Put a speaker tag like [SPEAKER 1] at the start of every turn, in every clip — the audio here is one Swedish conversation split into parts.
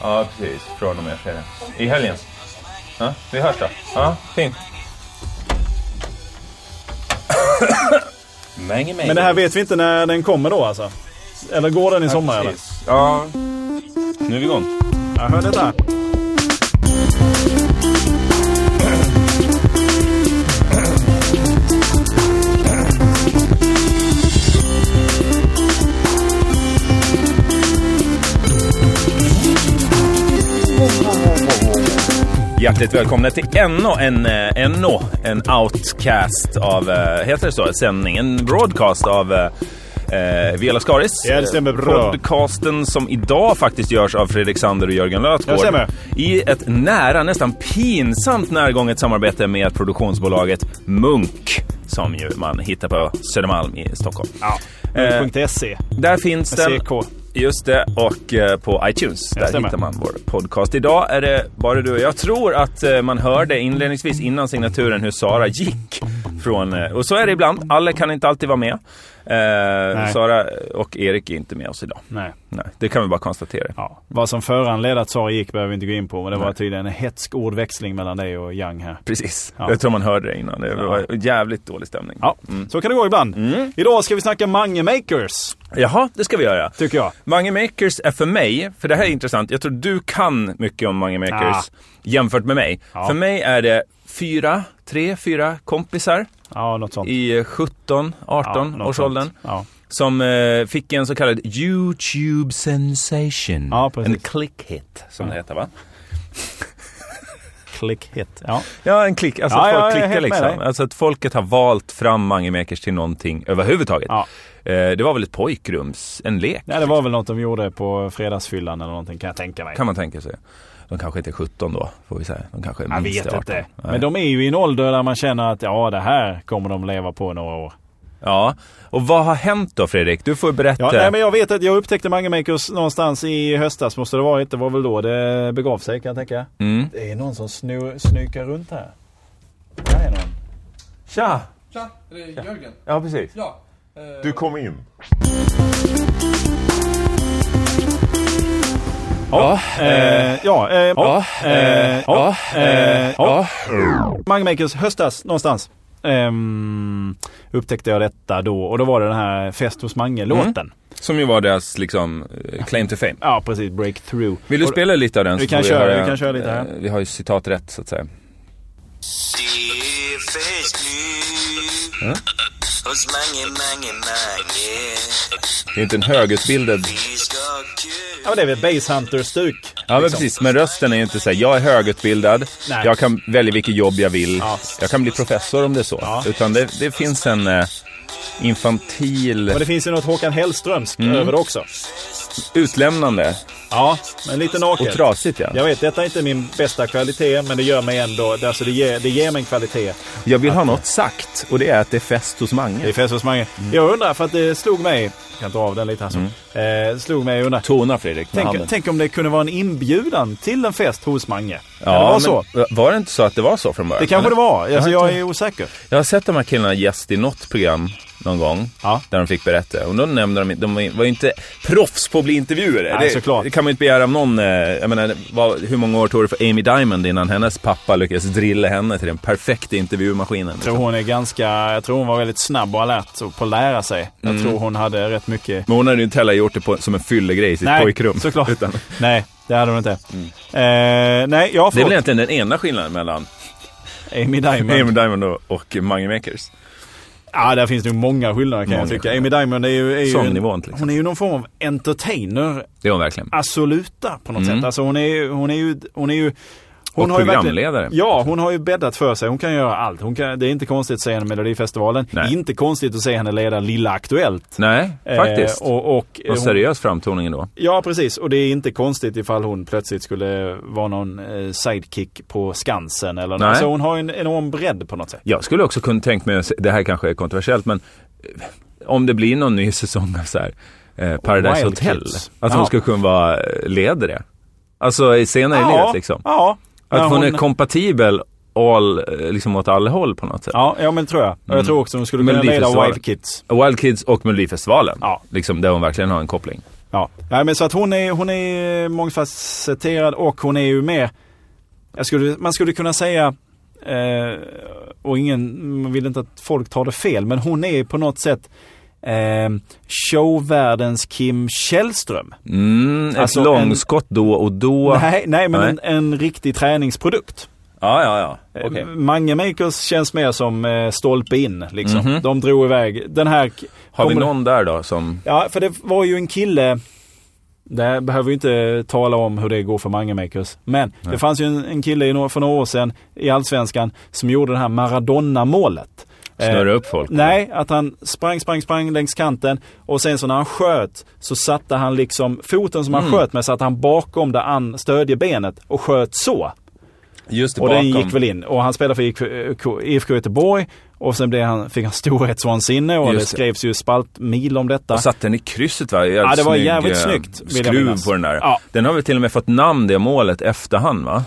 [SPEAKER 1] Ja, precis. Från och med fredag. I helgen. Ja, vi hörs då. Ja, fint. Mänge, mänge.
[SPEAKER 2] Men det här vet vi inte när den kommer då alltså? Eller går den i sommar eller?
[SPEAKER 1] Precis. Ja. Nu är vi igång.
[SPEAKER 2] Jag hör detta.
[SPEAKER 1] Hjärtligt välkomna till ännu en, eh, ännu en outcast av, eh, heter det så, sändning, en broadcast av eh, eh, Viola Skaris.
[SPEAKER 2] Ja, det stämmer bra.
[SPEAKER 1] Podcasten som idag faktiskt görs av Fredrik Sander och Jörgen
[SPEAKER 2] Ja,
[SPEAKER 1] Lötgård.
[SPEAKER 2] stämmer.
[SPEAKER 1] I ett nära, nästan pinsamt närgånget samarbete med produktionsbolaget Munk. Som ju man hittar på Södermalm i Stockholm.
[SPEAKER 2] Ja. E.
[SPEAKER 1] Eh,
[SPEAKER 2] .se.
[SPEAKER 1] Där finns den.
[SPEAKER 2] CK.
[SPEAKER 1] Just det, och eh, på iTunes. Där
[SPEAKER 2] stämmer.
[SPEAKER 1] hittar man vår podcast. Idag är det bara du och jag. tror att eh, man hörde inledningsvis innan signaturen hur Sara gick. Från, eh, och så är det ibland. Alla kan inte alltid vara med. Eh,
[SPEAKER 2] Nej.
[SPEAKER 1] Sara och Erik är inte med oss idag.
[SPEAKER 2] Nej.
[SPEAKER 1] Nej, det kan vi bara konstatera.
[SPEAKER 2] Ja. Vad som föranledde att Sara gick behöver vi inte gå in på. Men det var
[SPEAKER 1] Nej.
[SPEAKER 2] tydligen en hätsk ordväxling mellan dig och Young här.
[SPEAKER 1] Precis.
[SPEAKER 2] Ja.
[SPEAKER 1] Jag tror man hörde det innan. Det var jävligt dålig stämning.
[SPEAKER 2] Ja, så kan det gå ibland.
[SPEAKER 1] Mm.
[SPEAKER 2] Idag ska vi snacka Mange Makers,
[SPEAKER 1] Jaha, det ska vi göra.
[SPEAKER 2] tycker jag.
[SPEAKER 1] Mange Makers är för mig, för det här är intressant, jag tror du kan mycket om Mange Makers
[SPEAKER 2] Ah.
[SPEAKER 1] jämfört med mig.
[SPEAKER 2] Ja.
[SPEAKER 1] För mig är det fyra, tre, fyra kompisar
[SPEAKER 2] Ja, något sånt.
[SPEAKER 1] i eh, 17,
[SPEAKER 2] ja,
[SPEAKER 1] 18
[SPEAKER 2] något
[SPEAKER 1] års åldern
[SPEAKER 2] sånt. Ja.
[SPEAKER 1] som eh, fick en så kallad YouTube sensation.
[SPEAKER 2] Ja, precis.
[SPEAKER 1] en click hit, som det heter va?
[SPEAKER 2] Click hit. Ja.
[SPEAKER 1] Ja, en klick, alltså
[SPEAKER 2] Ja,
[SPEAKER 1] att
[SPEAKER 2] ja, jag
[SPEAKER 1] folk
[SPEAKER 2] är
[SPEAKER 1] klickar
[SPEAKER 2] helt med
[SPEAKER 1] liksom.
[SPEAKER 2] dig.
[SPEAKER 1] Alltså att folket har valt fram Mange Makers till någonting överhuvudtaget.
[SPEAKER 2] Ja.
[SPEAKER 1] Eh, det var väl ett pojkrums, en lek?
[SPEAKER 2] Nej, det var väl något de gjorde på fredagsfyllan eller någonting kan jag tänka mig.
[SPEAKER 1] Kan man tänka sig. De kanske inte är 17 då, får vi säga. De kanske är
[SPEAKER 2] jag
[SPEAKER 1] minst
[SPEAKER 2] vet
[SPEAKER 1] 18.
[SPEAKER 2] inte.
[SPEAKER 1] Nej.
[SPEAKER 2] Men de är ju i en ålder där man känner att ja, det här kommer de leva på några år.
[SPEAKER 1] Ja, och vad har hänt då Fredrik? Du får berätta.
[SPEAKER 2] Ja, nej, men jag vet att jag upptäckte Mange Makers någonstans i höstas måste det varit. Det var väl då det begav sig kan jag tänka.
[SPEAKER 1] mm.
[SPEAKER 2] Det är någon som snor, snykar runt här. Där är någon.
[SPEAKER 1] Tja!
[SPEAKER 3] Tja, är det Jörgen?
[SPEAKER 1] Ja, precis.
[SPEAKER 3] Ja. eh,
[SPEAKER 4] Du kom in.
[SPEAKER 2] Ja, eh, ja, eh,
[SPEAKER 1] Ja,
[SPEAKER 2] eh,
[SPEAKER 1] eh, ja,
[SPEAKER 2] ja,
[SPEAKER 1] eh,
[SPEAKER 2] eh,
[SPEAKER 1] ja.
[SPEAKER 2] Mange Makers höstas någonstans. Ehm, upptäckte jag detta då och då var det den här Fest hos Mange-låten.
[SPEAKER 1] Mm. Som ju var deras liksom eh, claim to fame.
[SPEAKER 2] Ja precis, Breakthrough.
[SPEAKER 1] Vill du
[SPEAKER 2] Och-
[SPEAKER 1] spela lite av den?
[SPEAKER 2] Vi
[SPEAKER 1] så
[SPEAKER 2] kan
[SPEAKER 1] får
[SPEAKER 2] köra-
[SPEAKER 1] höra-
[SPEAKER 2] vi kan köra lite här.
[SPEAKER 1] eh, Vi har ju citat rätt så att säga.
[SPEAKER 5] Det är fest nu hos mange, mange, mange.
[SPEAKER 1] Det är inte en högutbildad...
[SPEAKER 5] Vi ska ha kul.
[SPEAKER 2] Ja men det är väl Basehunter-stuk.
[SPEAKER 1] Ja, men precis. Men rösten är ju inte så här, jag är högutbildad,
[SPEAKER 2] liksom. Nej.
[SPEAKER 1] jag kan välja vilket jobb jag vill,
[SPEAKER 2] Ja.
[SPEAKER 1] jag kan bli professor om det är så.
[SPEAKER 2] Ja.
[SPEAKER 1] Utan det, det finns en eh, infantil
[SPEAKER 2] Och det finns ju något Håkan Hellströmskt
[SPEAKER 1] Mm.
[SPEAKER 2] över det också.
[SPEAKER 1] utlämnande
[SPEAKER 2] Ja, men lite
[SPEAKER 1] och
[SPEAKER 2] naket.
[SPEAKER 1] trasigt ja.
[SPEAKER 2] Jag vet, detta är inte min bästa kvalitet, men det gör mig ändå, alltså det ger, det ger mig en kvalitet.
[SPEAKER 1] Jag vill ha något sagt och det är att det är fest hos
[SPEAKER 2] Det är
[SPEAKER 1] Mange.
[SPEAKER 2] fest hos Mange. Mm. Jag undrar, för att det slog mig, jag kan dra av den lite här så. Eh, slog mig, jag undrar.
[SPEAKER 1] Mm. Tona Fredrik med handen.
[SPEAKER 2] Tänk, tänk om det kunde vara en inbjudan till en fest hos Mange. Kan
[SPEAKER 1] Ja,
[SPEAKER 2] det var
[SPEAKER 1] men
[SPEAKER 2] så?
[SPEAKER 1] Var det inte så att det var så från början?
[SPEAKER 2] Det kanske det
[SPEAKER 1] Eller?
[SPEAKER 2] var. Alltså,
[SPEAKER 1] Jag har
[SPEAKER 2] jag
[SPEAKER 1] inte-
[SPEAKER 2] är osäker.
[SPEAKER 1] Jag har sett de här killarna gäst i något program någon gång.
[SPEAKER 2] Ja.
[SPEAKER 1] Där de fick berätta. Och då nämnde de, de var ju inte proffs på att bli intervjuare.
[SPEAKER 2] Nej,
[SPEAKER 1] det,
[SPEAKER 2] såklart.
[SPEAKER 1] det kan man ju inte begära av någon. eh, Jag menar, vad, hur många år tog det för Amy Diamond innan hennes pappa lyckades drilla henne till den perfekta intervjumaskinen?
[SPEAKER 2] Jag tror hon är ganska, jag tror hon var väldigt snabb och alert och på att lära sig. Jag
[SPEAKER 1] Mm.
[SPEAKER 2] tror hon hade rätt mycket
[SPEAKER 1] Men hon hade ju inte heller gjort det på, som en fyllegrej i sitt pojkrum.
[SPEAKER 2] såklart.
[SPEAKER 1] Utan, Mm.
[SPEAKER 2] Nej, det hade hon inte. Eh, nej, jag har
[SPEAKER 1] det är väl
[SPEAKER 2] fått
[SPEAKER 1] egentligen den ena skillnaden mellan
[SPEAKER 2] Amy Diamond.
[SPEAKER 1] Amy Diamond och, och Mange Makers.
[SPEAKER 2] Ja, där finns nog många skillnader kan
[SPEAKER 1] Många
[SPEAKER 2] jag tycka.
[SPEAKER 1] skillnader.
[SPEAKER 2] Amy Diamond är ju... Är ju
[SPEAKER 1] Sångnivån,
[SPEAKER 2] en,
[SPEAKER 1] till exempel.
[SPEAKER 2] hon är ju någon form av entertainer
[SPEAKER 1] Det är hon verkligen.
[SPEAKER 2] absoluta på något sätt. Alltså hon är ju... Hon är ju, hon är ju hon
[SPEAKER 1] Mm. Och
[SPEAKER 2] ju verkligen-
[SPEAKER 1] programledare.
[SPEAKER 2] Ja, hon har ju bäddat för sig. Hon kan göra allt. Hon kan, det är inte konstigt att se henne i Melodifestivalen.
[SPEAKER 1] Nej.
[SPEAKER 2] Inte konstigt att se henne leda Lilla Aktuellt.
[SPEAKER 1] Nej, faktiskt.
[SPEAKER 2] Eh, och, och,
[SPEAKER 1] Någon
[SPEAKER 2] hon,
[SPEAKER 1] seriös framtoning då.
[SPEAKER 2] ja, precis. Och det är inte konstigt ifall hon plötsligt skulle vara någon eh, sidekick på Skansen eller något.
[SPEAKER 1] Nej.
[SPEAKER 2] Så hon har ju en enorm bredd på något sätt.
[SPEAKER 1] Jag skulle också kunna tänkt mig, det här kanske är kontroversiellt, men eh, om det blir någon ny säsong av så här, eh, Paradise
[SPEAKER 2] Wild
[SPEAKER 1] Hotel,
[SPEAKER 2] Kids.
[SPEAKER 1] att
[SPEAKER 2] Ja.
[SPEAKER 1] hon skulle kunna vara eh, ledare. Alltså i senare i livet liksom.
[SPEAKER 2] ja.
[SPEAKER 1] Att
[SPEAKER 2] När
[SPEAKER 1] hon, är kompatibel all, eh, liksom åt alla håll på något sätt.
[SPEAKER 2] Ja, ja men det tror jag. Och jag tror också hon skulle kunna leda
[SPEAKER 1] Mm. Melodifestivalen.
[SPEAKER 2] Wild Kids.
[SPEAKER 1] Wild Kids och Melodifestivalen,
[SPEAKER 2] Ja.
[SPEAKER 1] liksom, där hon verkligen har en koppling.
[SPEAKER 2] Ja. ja, men så att hon är, hon är eh, mångfacetterad och hon är ju mer, jag skulle, man skulle kunna säga, eh, och ingen, man vill inte att folk tar det fel, men hon är på något sätt eh, showvärldens Kim Källström.
[SPEAKER 1] Mm, ett
[SPEAKER 2] Alltså, en-
[SPEAKER 1] långskott då och då.
[SPEAKER 2] Nej, nej, men
[SPEAKER 1] Nej.
[SPEAKER 2] En, en riktig träningsprodukt.
[SPEAKER 1] Ja, ja, ja. Okej.
[SPEAKER 2] Mange Makers känns mer som eh, stolpe in liksom.
[SPEAKER 1] Mhm.
[SPEAKER 2] De drog iväg. Den här...
[SPEAKER 1] Har vi
[SPEAKER 2] kommer-
[SPEAKER 1] någon där då som...
[SPEAKER 2] Ja, för det var ju en kille. Det här behöver vi inte tala om hur det går för Mange Makers. Men det fanns ju en, en kille i några, för några år sedan i Allsvenskan som gjorde det här Maradona-målet. Eh,
[SPEAKER 1] Snurra upp folk.
[SPEAKER 2] Nej, att han sprang, sprang, sprang längs kanten och sen så när han sköt så satte han liksom foten som han
[SPEAKER 1] Mm.
[SPEAKER 2] sköt med satte han bakom det an, stödjebenet och sköt så.
[SPEAKER 1] Just det,
[SPEAKER 2] Och den
[SPEAKER 1] bakom.
[SPEAKER 2] gick väl in. Och han spelade för IFK IFK Göteborg och sen blev han, fick han storhetsvansinne
[SPEAKER 1] Just
[SPEAKER 2] och det
[SPEAKER 1] det.
[SPEAKER 2] skrevs ju spaltmil om detta.
[SPEAKER 1] Och satte den i krysset va? Jävligt
[SPEAKER 2] Ja, det var
[SPEAKER 1] snygg,
[SPEAKER 2] jävligt
[SPEAKER 1] eh,
[SPEAKER 2] snyggt, vill jag
[SPEAKER 1] Skruv
[SPEAKER 2] minnas.
[SPEAKER 1] på den där.
[SPEAKER 2] Ja.
[SPEAKER 1] Den har väl till och med fått namn det målet efterhand va?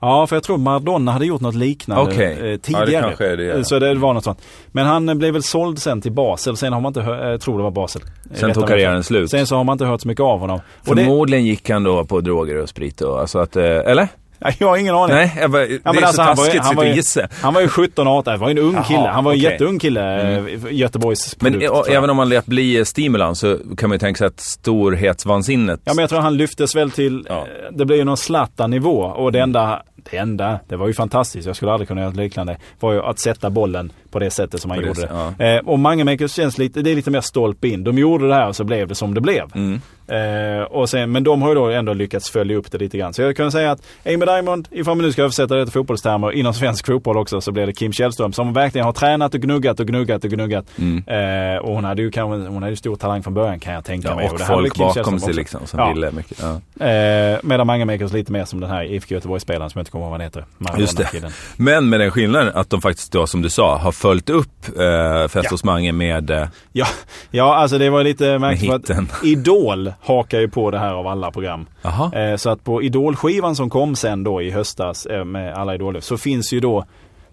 [SPEAKER 2] Ja, för jag tror Maradona hade gjort något liknande
[SPEAKER 1] Okej.
[SPEAKER 2] eh,
[SPEAKER 1] Ja, det
[SPEAKER 2] tidigare.
[SPEAKER 1] kanske är det, ja.
[SPEAKER 2] Eh, Så det var något sånt. Men han eh, blev väl såld sen till Basel. Sen har man inte hört, jag tror det var Basel. Eh,
[SPEAKER 1] Sen
[SPEAKER 2] rätta
[SPEAKER 1] tog
[SPEAKER 2] mig.
[SPEAKER 1] karriären slut.
[SPEAKER 2] Sen så har man inte hört så mycket av honom. Och det,
[SPEAKER 1] Förmodligen gick han då på droger och sprit och alltså att, eh, eller?
[SPEAKER 2] Ja, jag har ingen aning.
[SPEAKER 1] Nej, jag bara, det
[SPEAKER 2] Ja,
[SPEAKER 1] är
[SPEAKER 2] men alltså,
[SPEAKER 1] så
[SPEAKER 2] han, var ju,
[SPEAKER 1] taskigt att
[SPEAKER 2] han,
[SPEAKER 1] sitta
[SPEAKER 2] var
[SPEAKER 1] och
[SPEAKER 2] ju,
[SPEAKER 1] gissa.
[SPEAKER 2] han var ju 17, 18, han var ju en ung
[SPEAKER 1] Jaha,
[SPEAKER 2] kille. Han var ju en
[SPEAKER 1] okej.
[SPEAKER 2] jätteung kille, mm. Göteborgs
[SPEAKER 1] Men
[SPEAKER 2] produkt,
[SPEAKER 1] eh,
[SPEAKER 2] tror jag.
[SPEAKER 1] även om man lät bli eh, stimulans så kan man ju tänka sig att storhetsvansinnet...
[SPEAKER 2] Ja, men jag tror han lyftes väl till,
[SPEAKER 1] Ja.
[SPEAKER 2] eh, det blir ju någon Zlatan-nivå och det enda, det enda, det var ju fantastiskt, jag skulle aldrig kunna göra något liknande, var ju att sätta bollen på det sättet som han
[SPEAKER 1] På det
[SPEAKER 2] gjorde
[SPEAKER 1] sättet,
[SPEAKER 2] det. Eh, och Mangemakers känns lite, det är lite mer stolpe in. De gjorde det här och så blev det som det blev.
[SPEAKER 1] Mm.
[SPEAKER 2] Eh, och sen, men de har ju då ändå lyckats följa upp det lite grann. Så jag kan säga att Amy Diamond, ifall man nu ska översätta det till fotbollstermer, inom svensk fotboll också, så blir det Kim Källström som verkligen har tränat och gnuggat och gnuggat och gnuggat. Eh, och hon hade ju kanske, hon hade ju stor talang från början kan jag tänka
[SPEAKER 1] Mm.
[SPEAKER 2] mig.
[SPEAKER 1] Ja, och
[SPEAKER 2] det här blir
[SPEAKER 1] folk
[SPEAKER 2] Kim Källström
[SPEAKER 1] bakom sig
[SPEAKER 2] också.
[SPEAKER 1] liksom som
[SPEAKER 2] Ja.
[SPEAKER 1] ville mycket. Ja.
[SPEAKER 2] Eh, medan Mange Makers lite mer som den här IFK Göteborg-spelaren som jag inte kommer ihåg vad han heter.
[SPEAKER 1] Just
[SPEAKER 2] Maradona-killen.
[SPEAKER 1] det. Men med den skillnaden att de faktiskt då, som du sa, har följt upp eh, Fest
[SPEAKER 2] Ja.
[SPEAKER 1] hos Mange med... Eh,
[SPEAKER 2] Ja, ja, alltså det var lite märkligt för
[SPEAKER 1] hitten.
[SPEAKER 2] att Idol hakar ju på det här av alla program.
[SPEAKER 1] Aha.
[SPEAKER 2] Eh, så att på Idol-skivan som kom sen då i höstas eh, med alla idol så finns ju då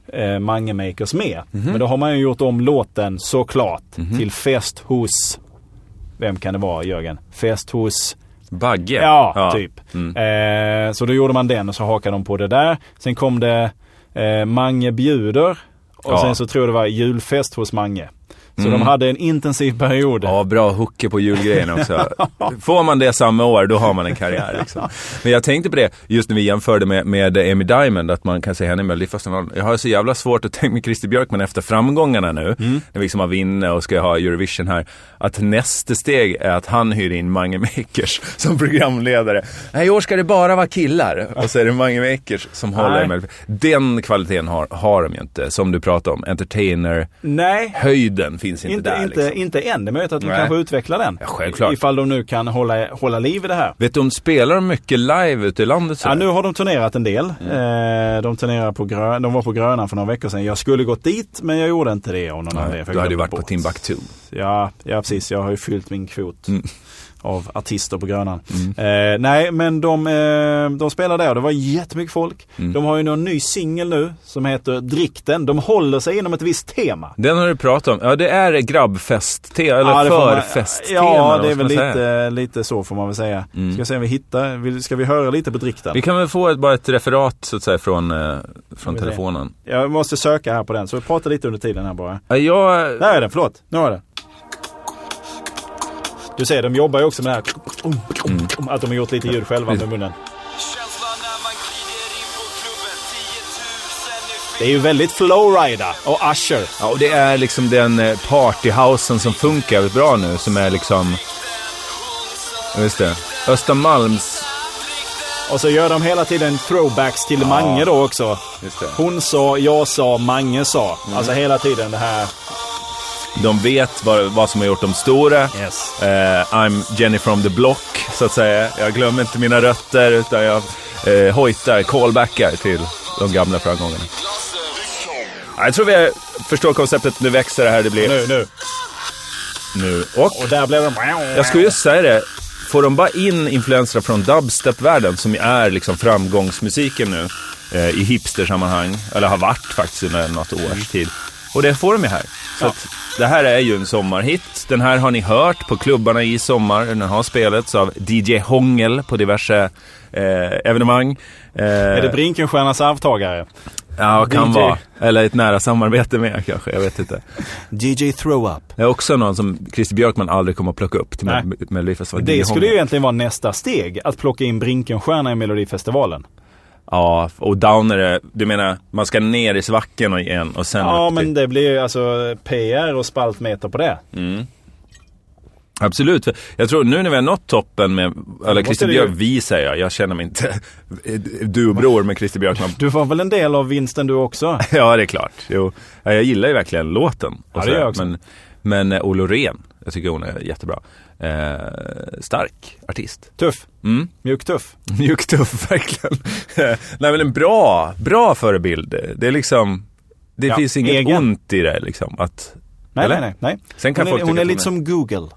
[SPEAKER 2] eh, Mange Makers med.
[SPEAKER 1] Mhm.
[SPEAKER 2] Men då har man ju gjort om låten såklart till Fest hos, vem kan det vara Jörgen? Fest hos
[SPEAKER 1] Bagge? Mm.
[SPEAKER 2] Ja, typ. Eh, så då gjorde man den och så hakade de på det där. Sen kom det eh, Mange bjuder och
[SPEAKER 1] Ja. Mm.
[SPEAKER 2] sen så tror jag det var julfest hos Mange. Så de hade en intensiv period.
[SPEAKER 1] Ja, bra hooker på julgrejen också. Får man det samma år, då har man en karriär. Liksom. Men jag tänkte på det, just när vi jämförde med, med Amy Diamond, att man kan se henne i Melodifestivalen. Jag har så jävla svårt att tänka mig Christer Björkman efter framgångarna nu, när vi liksom har vinner och ska ha Eurovision här, att nästa steg är att han hyr in Mange Makers som programledare. Nej, i år ska det bara vara killar. Och så är det Mange Makers som håller i
[SPEAKER 2] Nej.
[SPEAKER 1] Melodif- Den kvaliteten har, har de ju inte, som du pratar om. Entertainer,
[SPEAKER 2] Nej,
[SPEAKER 1] höjden finns inte,
[SPEAKER 2] inte,
[SPEAKER 1] där.
[SPEAKER 2] inte,
[SPEAKER 1] liksom.
[SPEAKER 2] inte än. Det är möjligt att de
[SPEAKER 1] Nej.
[SPEAKER 2] kanske utvecklar den.
[SPEAKER 1] Ja, självklart.
[SPEAKER 2] Ifall de nu kan hålla, hålla liv i det här.
[SPEAKER 1] Vet du om spelar de mycket live ute i landet? så
[SPEAKER 2] Ja,
[SPEAKER 1] här?
[SPEAKER 2] nu har de turnerat en del.
[SPEAKER 1] Mm.
[SPEAKER 2] Eh, de, turnerar på grön, de var på Grönan för några veckor sedan. Jag skulle gått dit men jag gjorde inte det. Av någon anledning, för jag
[SPEAKER 1] du hade ju
[SPEAKER 2] glömde
[SPEAKER 1] varit på
[SPEAKER 2] bort.
[SPEAKER 1] Timbuktu.
[SPEAKER 2] Ja, ja precis. Jag har ju fyllt min kvot
[SPEAKER 1] Mm.
[SPEAKER 2] av artister på Grönan. Eh, nej, men de, eh, de spelar där och det var jättemycket folk.
[SPEAKER 1] Mm.
[SPEAKER 2] De har ju någon ny singel nu som heter Drikten. De håller sig inom ett visst tema.
[SPEAKER 1] Den har du pratat om. Ja, det är grabbfest eller
[SPEAKER 2] Ja, det får man-
[SPEAKER 1] förfest-tema.
[SPEAKER 2] Ja,
[SPEAKER 1] vad
[SPEAKER 2] det är
[SPEAKER 1] ska
[SPEAKER 2] väl
[SPEAKER 1] man säga? Mm.
[SPEAKER 2] lite, lite så får man väl säga. Ska se om vi hittar, vill- ska vi höra lite på Drikten?
[SPEAKER 1] Vi kan väl få ett, bara ett referat så att säga från, eh, från
[SPEAKER 2] vi
[SPEAKER 1] telefonen.
[SPEAKER 2] Jag måste söka här på den, så prata lite under tiden här bara.
[SPEAKER 1] Ja, jag...
[SPEAKER 2] Där är den, förlåt. Nu har jag den. Du ser, de jobbar ju också med det här.
[SPEAKER 1] Mm.
[SPEAKER 2] Att de har gjort lite ljud själva med munnen.
[SPEAKER 5] Känslan när man glider in på klubben 10 000
[SPEAKER 2] Det är ju väldigt Flowrider och Usher.
[SPEAKER 1] Ja, och det är liksom den eh, partyhousen som funkar jävligt bra nu som är liksom... Ja, Just det. Östermalms...
[SPEAKER 2] Och så gör de hela tiden throwbacks till Mange då också.
[SPEAKER 1] Just det.
[SPEAKER 2] Hon sa, jag sa, Mange sa.
[SPEAKER 1] Mm.
[SPEAKER 2] Alltså hela tiden det här.
[SPEAKER 1] De vet vad, vad som har gjort dem stora.
[SPEAKER 2] Yes.
[SPEAKER 1] Eh, I'm Jenny from the block, så att säga. Jag glömmer inte mina rötter, utan jag eh, hojtar, callbackar till de gamla framgångarna. Ja, Jag tror vi förstår konceptet. Nu växer det här. Det blir
[SPEAKER 2] Nu, nu.
[SPEAKER 1] nu. Och
[SPEAKER 2] Och där blev de...
[SPEAKER 1] jag skulle just säga det. Får de bara in influenser från dubstep-världen, som är liksom
[SPEAKER 2] Mm.
[SPEAKER 1] framgångsmusiken nu eh, i hipstersammanhang, eller har varit faktiskt under något års tid, Och det får de ju här. Så att, det här är ju en sommarhit. Den här har ni hört på klubbarna i sommar. Den har spelats av DJ Hångel på diverse eh, evenemang. Eh,
[SPEAKER 2] Är det Brinkenstiernas arvtagare?
[SPEAKER 1] Ja, kan
[SPEAKER 2] DJ?
[SPEAKER 1] vara. Eller ett nära samarbete med kanske. Jag vet inte.
[SPEAKER 2] DJ Throw Up.
[SPEAKER 1] Det är också någon som Christer Björkman aldrig kommer att plocka upp till
[SPEAKER 2] Nej.
[SPEAKER 1] Mel- Melodifestivalen. DJ
[SPEAKER 2] Det skulle ju
[SPEAKER 1] Hångel.
[SPEAKER 2] egentligen vara nästa steg, att plocka in Brinkenstierna i Melodifestivalen.
[SPEAKER 1] Ja, och Downer är... Du menar, man ska ner i svacken och igen och sen
[SPEAKER 2] Ja,
[SPEAKER 1] upp till-
[SPEAKER 2] men det blir ju alltså PR och spaltmeter på det.
[SPEAKER 1] Mm. Absolut. för Jag tror nu när vi har nått toppen med, eller
[SPEAKER 2] måste
[SPEAKER 1] Christer
[SPEAKER 2] det
[SPEAKER 1] Björk,
[SPEAKER 2] ju-
[SPEAKER 1] vi säger jag, jag känner mig inte dubror med Christer Björkman.
[SPEAKER 2] Du var väl en del av vinsten du också?
[SPEAKER 1] Ja, det är klart. Jo. Ja, Jag gillar ju verkligen låten. och
[SPEAKER 2] Ja, det
[SPEAKER 1] sådär.
[SPEAKER 2] gör jag också.
[SPEAKER 1] Men, men eh, Olle Ren, jag tycker hon är jättebra. Eh, stark artist.
[SPEAKER 2] Tuff.
[SPEAKER 1] Mm.
[SPEAKER 2] Mjuk tuff.
[SPEAKER 1] Mjuk tuff, verkligen. Nej men en bra, bra förebild. Det är liksom, det
[SPEAKER 2] Ja,
[SPEAKER 1] finns inget
[SPEAKER 2] egen.
[SPEAKER 1] ont i det liksom. Att,
[SPEAKER 2] Nej,
[SPEAKER 1] eller?
[SPEAKER 2] nej, nej. nej.
[SPEAKER 1] Sen kan
[SPEAKER 2] Hon,
[SPEAKER 1] folk
[SPEAKER 2] är,
[SPEAKER 1] tycka
[SPEAKER 2] hon är
[SPEAKER 1] att
[SPEAKER 2] lite som Google.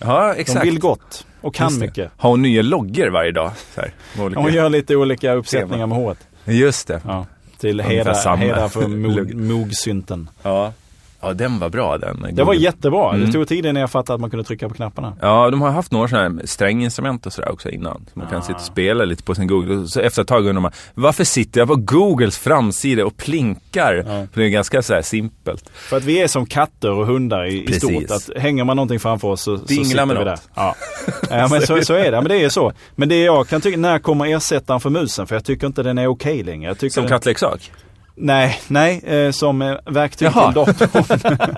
[SPEAKER 1] Ja,
[SPEAKER 2] De
[SPEAKER 1] exakt.
[SPEAKER 2] vill gott och kan
[SPEAKER 1] Just det.
[SPEAKER 2] mycket.
[SPEAKER 1] Har hon nya loggor varje dag? Så här, med olika-
[SPEAKER 2] Hon gör lite olika uppsättningar med håret.
[SPEAKER 1] Just det.
[SPEAKER 2] Ja. Till
[SPEAKER 1] Ungefär
[SPEAKER 2] heda,
[SPEAKER 1] samma.
[SPEAKER 2] heda för mo-
[SPEAKER 1] Lugg.
[SPEAKER 2] mogsynten.
[SPEAKER 1] Ja. ja, den var bra den.
[SPEAKER 2] Det var
[SPEAKER 1] Google.
[SPEAKER 2] jättebra. Det
[SPEAKER 1] Mm.
[SPEAKER 2] tog tid innan jag fattade att man kunde trycka på knapparna.
[SPEAKER 1] Ja, de har haft några sådana här stränginstrument och sådär också innan. Så man
[SPEAKER 2] Ah.
[SPEAKER 1] kan sitta och spela lite på sin Google. Så efter ett tag undrar man, varför sitter jag på Googles framsida och plinkar? För det är ganska så här simpelt.
[SPEAKER 2] För att vi är som katter och hundar i, i
[SPEAKER 1] Precis.
[SPEAKER 2] stort. Att hänger man någonting framför oss så, så
[SPEAKER 1] Dinglar
[SPEAKER 2] sitter
[SPEAKER 1] med
[SPEAKER 2] vi där.
[SPEAKER 1] något.
[SPEAKER 2] Ja. ja men så, så är det. Men det är så. Men det jag kan tycka, när kommer ersättaren för musen? För jag tycker inte den är okej längre. Jag tycker
[SPEAKER 1] Som
[SPEAKER 2] den,
[SPEAKER 1] kattleksak.
[SPEAKER 2] Nej, nej. Eh, som eh, verktyg
[SPEAKER 1] Jaha.
[SPEAKER 2] till datorn.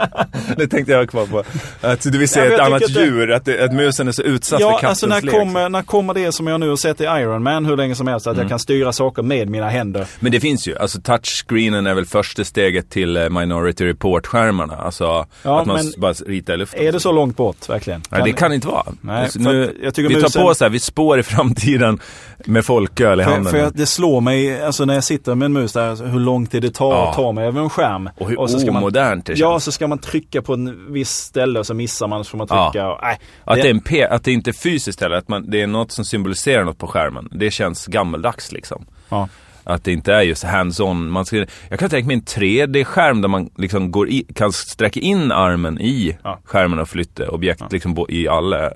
[SPEAKER 1] Det tänkte jag kvar på. Att du vill se
[SPEAKER 2] Ja, men
[SPEAKER 1] ett
[SPEAKER 2] jag
[SPEAKER 1] annat
[SPEAKER 2] tycker att det-
[SPEAKER 1] djur, att, det, att musen är så utsatt för
[SPEAKER 2] ja,
[SPEAKER 1] kattens
[SPEAKER 2] alltså när
[SPEAKER 1] lek.
[SPEAKER 2] kommer, när kommer det som jag nu har sett i Iron Man hur länge som helst?
[SPEAKER 1] Mm.
[SPEAKER 2] Att jag kan styra saker med mina händer.
[SPEAKER 1] Men det finns ju, alltså touchscreenen är väl första steget till eh, Minority Report-skärmarna. Alltså
[SPEAKER 2] Ja,
[SPEAKER 1] att man
[SPEAKER 2] men-
[SPEAKER 1] s- bara ritar i luften.
[SPEAKER 2] Är det så långt bort verkligen?
[SPEAKER 1] Nej, det kan inte vara.
[SPEAKER 2] Nej,
[SPEAKER 1] Alltså,
[SPEAKER 2] för
[SPEAKER 1] nu,
[SPEAKER 2] att jag tycker
[SPEAKER 1] vi
[SPEAKER 2] musen-
[SPEAKER 1] tar på så här, vi spår i framtiden med folköl i
[SPEAKER 2] För,
[SPEAKER 1] handen.
[SPEAKER 2] för jag, det slår mig, alltså när jag sitter med en mus där, alltså, hur lång tid det tar
[SPEAKER 1] Ja.
[SPEAKER 2] att ta mig över en skärm.
[SPEAKER 1] Och hur
[SPEAKER 2] så ska man,
[SPEAKER 1] omodernt det
[SPEAKER 2] Ja,
[SPEAKER 1] känns.
[SPEAKER 2] så ska man trycka på en viss ställe och så missar man så får man
[SPEAKER 1] Ja.
[SPEAKER 2] trycka. Och, nej,
[SPEAKER 1] Att det,
[SPEAKER 2] det-
[SPEAKER 1] är en P, att det inte är fysiskt heller, att man, det är något som symboliserar något på skärmen. Det känns gammeldags liksom.
[SPEAKER 2] ja.
[SPEAKER 1] Att det inte är just hands-on. Man ska, jag kan tänka mig en 3D-skärm där man liksom går i, kan sträcka in armen i
[SPEAKER 2] Ja.
[SPEAKER 1] skärmen och flytta objekt liksom, bo- i alla eh,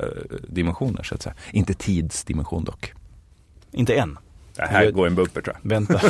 [SPEAKER 1] dimensioner så att säga. Inte tidsdimension dock.
[SPEAKER 2] Inte än.
[SPEAKER 1] Det här går en bumper tror jag.
[SPEAKER 2] Vänta.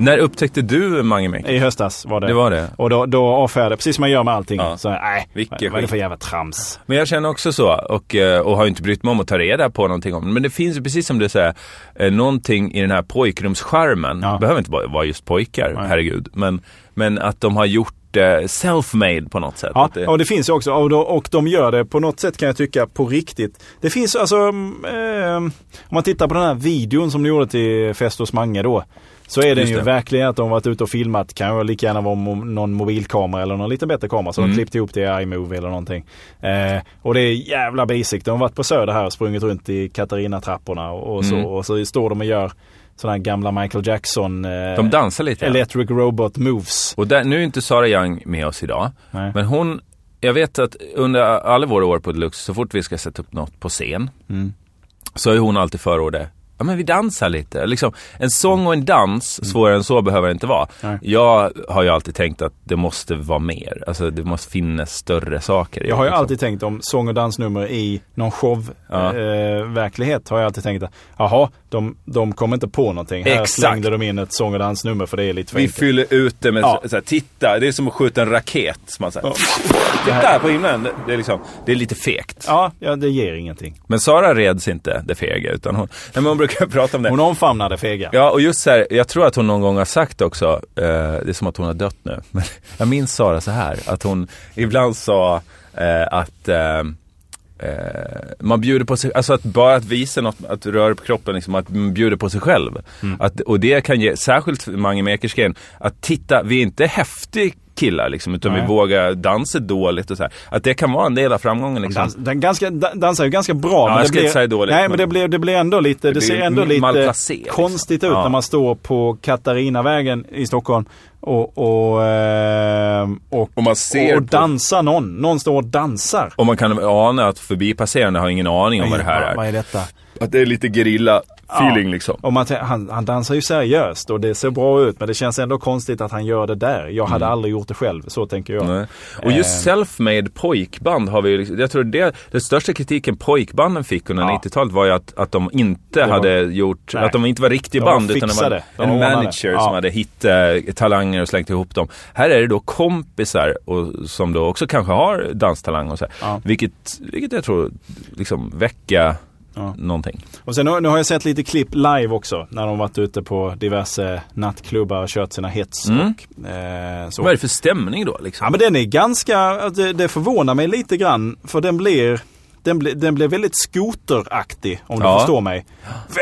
[SPEAKER 1] När upptäckte du Mange Mäck?
[SPEAKER 2] I höstas var det.
[SPEAKER 1] Det var det.
[SPEAKER 2] Och då, då avfärdade precis som man gör med allting.
[SPEAKER 1] Ja.
[SPEAKER 2] Så nej,
[SPEAKER 1] Vilket
[SPEAKER 2] vad är det
[SPEAKER 1] skit.
[SPEAKER 2] för jävla trams?
[SPEAKER 1] Men jag känner också så och, eh, och har ju inte brytt mig om att ta reda på någonting om det. Men det finns ju precis som du säger, eh, någonting i den här pojkrumsskärmen.
[SPEAKER 2] Ja.
[SPEAKER 1] Det behöver inte bara vara just pojkar,
[SPEAKER 2] Nej.
[SPEAKER 1] herregud. Men, men att de har gjort eh, self-made på något sätt.
[SPEAKER 2] Ja,
[SPEAKER 1] Att det,
[SPEAKER 2] det... och det finns ju också. Och, då, och de gör det på något sätt kan jag tycka på riktigt. Det finns alltså, mm, eh, om man tittar på den här videon som de gjorde till Fest hos Mange då. Så är den
[SPEAKER 1] Just
[SPEAKER 2] ju
[SPEAKER 1] det.
[SPEAKER 2] verkligen att de varit ute och filmat. Kan ju lika gärna vara mo- någon mobilkamera eller någon lite bättre kamera. Så de
[SPEAKER 1] Mm.
[SPEAKER 2] klippte ihop det i iMovie eller någonting. Eh, och det är jävla basic. De har varit på Söder här och sprungit runt i Katarina-trapporna och, och så.
[SPEAKER 1] Mm.
[SPEAKER 2] Och så står de och gör sådana här gamla Michael Jackson eh,
[SPEAKER 1] de dansar lite. ja.
[SPEAKER 2] Electric Robot Moves.
[SPEAKER 1] Och där, nu är inte Sara Young med oss idag.
[SPEAKER 2] Nej.
[SPEAKER 1] Men hon, jag vet att under alla våra år på Deluxe, så fort vi ska sätta upp något på scen,
[SPEAKER 2] Mm.
[SPEAKER 1] så är hon alltid förordet. Ja men vi dansar lite. Liksom, en sång och en dans, svårare än så behöver det inte vara.
[SPEAKER 2] Mm. Nej.
[SPEAKER 1] Jag har ju alltid tänkt att det måste vara mer. Alltså det måste finnas större saker. i
[SPEAKER 2] Jag har ju
[SPEAKER 1] det, liksom.
[SPEAKER 2] alltid tänkt om sång och dansnummer i någon
[SPEAKER 1] Ja.
[SPEAKER 2] show-verklighet har jag alltid tänkt att jaha, de, de kommer inte på någonting. Här
[SPEAKER 1] Exakt.
[SPEAKER 2] slängde de in ett sång och dansnummer för det är lite för
[SPEAKER 1] Vi
[SPEAKER 2] enkelt.
[SPEAKER 1] fyller ut det med
[SPEAKER 2] Ja.
[SPEAKER 1] så, så här, titta, det är som att skjuta en raket. Som man, så här, Titta på himlen, det, det, är liksom, det är lite fegt.
[SPEAKER 2] Ja, ja, det ger ingenting.
[SPEAKER 1] Men Sara reds inte det fega utan hon, nej, men hon brukar prata om det.
[SPEAKER 2] Hon omfamnar det fega.
[SPEAKER 1] Ja, och just så här, jag tror att hon någon gång har sagt också, eh, det är som att hon har dött nu, men jag minns Sara så här, att hon ibland sa eh, att eh, eh, man bjuder på sig, alltså att bara att visa något, att röra på kroppen, liksom, att man bjuder på sig själv.
[SPEAKER 2] Mm.
[SPEAKER 1] Att, och det kan ge, särskilt för Mange Mäkersgren, att titta, vi är inte häftig killar liksom, utan vi
[SPEAKER 2] Nej.
[SPEAKER 1] vågar dansa dåligt och så här. Att det kan vara en del av framgången liksom.
[SPEAKER 2] Dans, den ganska, da- dansar ju ganska bra.
[SPEAKER 1] jag ska
[SPEAKER 2] blir,
[SPEAKER 1] inte säga dåligt,
[SPEAKER 2] nej, men,
[SPEAKER 1] men-
[SPEAKER 2] det, blir, det blir ändå lite, det,
[SPEAKER 1] blir
[SPEAKER 2] ser ändå
[SPEAKER 1] m-
[SPEAKER 2] lite
[SPEAKER 1] malplacerat, liksom.
[SPEAKER 2] konstigt ut
[SPEAKER 1] Ja.
[SPEAKER 2] när man står på Katarinavägen i Stockholm och, och, eh, och,
[SPEAKER 1] Och man ser
[SPEAKER 2] och
[SPEAKER 1] på-
[SPEAKER 2] dansar någon. Någon står och dansar.
[SPEAKER 1] Och man kan ana att förbipasserande har ingen aning om vad det här är.
[SPEAKER 2] Vad är detta?
[SPEAKER 1] Att det är lite gerilla feeling liksom.
[SPEAKER 2] Och man, tän- han, han dansar ju seriöst och det ser bra ut men det känns ändå konstigt att han gör det där. Jag hade aldrig gjort det själv, så tänker jag.
[SPEAKER 1] Mm. Nej. Och just
[SPEAKER 2] Eh.
[SPEAKER 1] self-made pojkband har vi ju liksom, jag tror det, den största kritiken pojkbanden fick under
[SPEAKER 2] Ja.
[SPEAKER 1] 90-talet var ju att, att de inte
[SPEAKER 2] var-
[SPEAKER 1] hade gjort,
[SPEAKER 2] Nej.
[SPEAKER 1] att de inte var riktiga
[SPEAKER 2] De var
[SPEAKER 1] band utan
[SPEAKER 2] fixade.
[SPEAKER 1] det var
[SPEAKER 2] De
[SPEAKER 1] en
[SPEAKER 2] ordnade.
[SPEAKER 1] manager
[SPEAKER 2] Ja.
[SPEAKER 1] som hade hittat eh, talanger och slängt ihop dem. Här är det då kompisar och, som då också kanske har danstalang och så här.
[SPEAKER 2] Ja.
[SPEAKER 1] Vilket, vilket jag tror liksom väcka
[SPEAKER 2] Ja.
[SPEAKER 1] någonting.
[SPEAKER 2] Och sen har- nu har jag sett lite klipp live också när de varit ute på diverse nattklubbar och kört sina hits.
[SPEAKER 1] Mm.
[SPEAKER 2] Och, eh, så.
[SPEAKER 1] Vad är det för stämning då
[SPEAKER 2] Ja
[SPEAKER 1] liksom?
[SPEAKER 2] men den är ganska, det, det förvånar mig lite grann för den blir den, blir den blir väldigt skoteraktig om du
[SPEAKER 1] Ja.
[SPEAKER 2] förstår mig.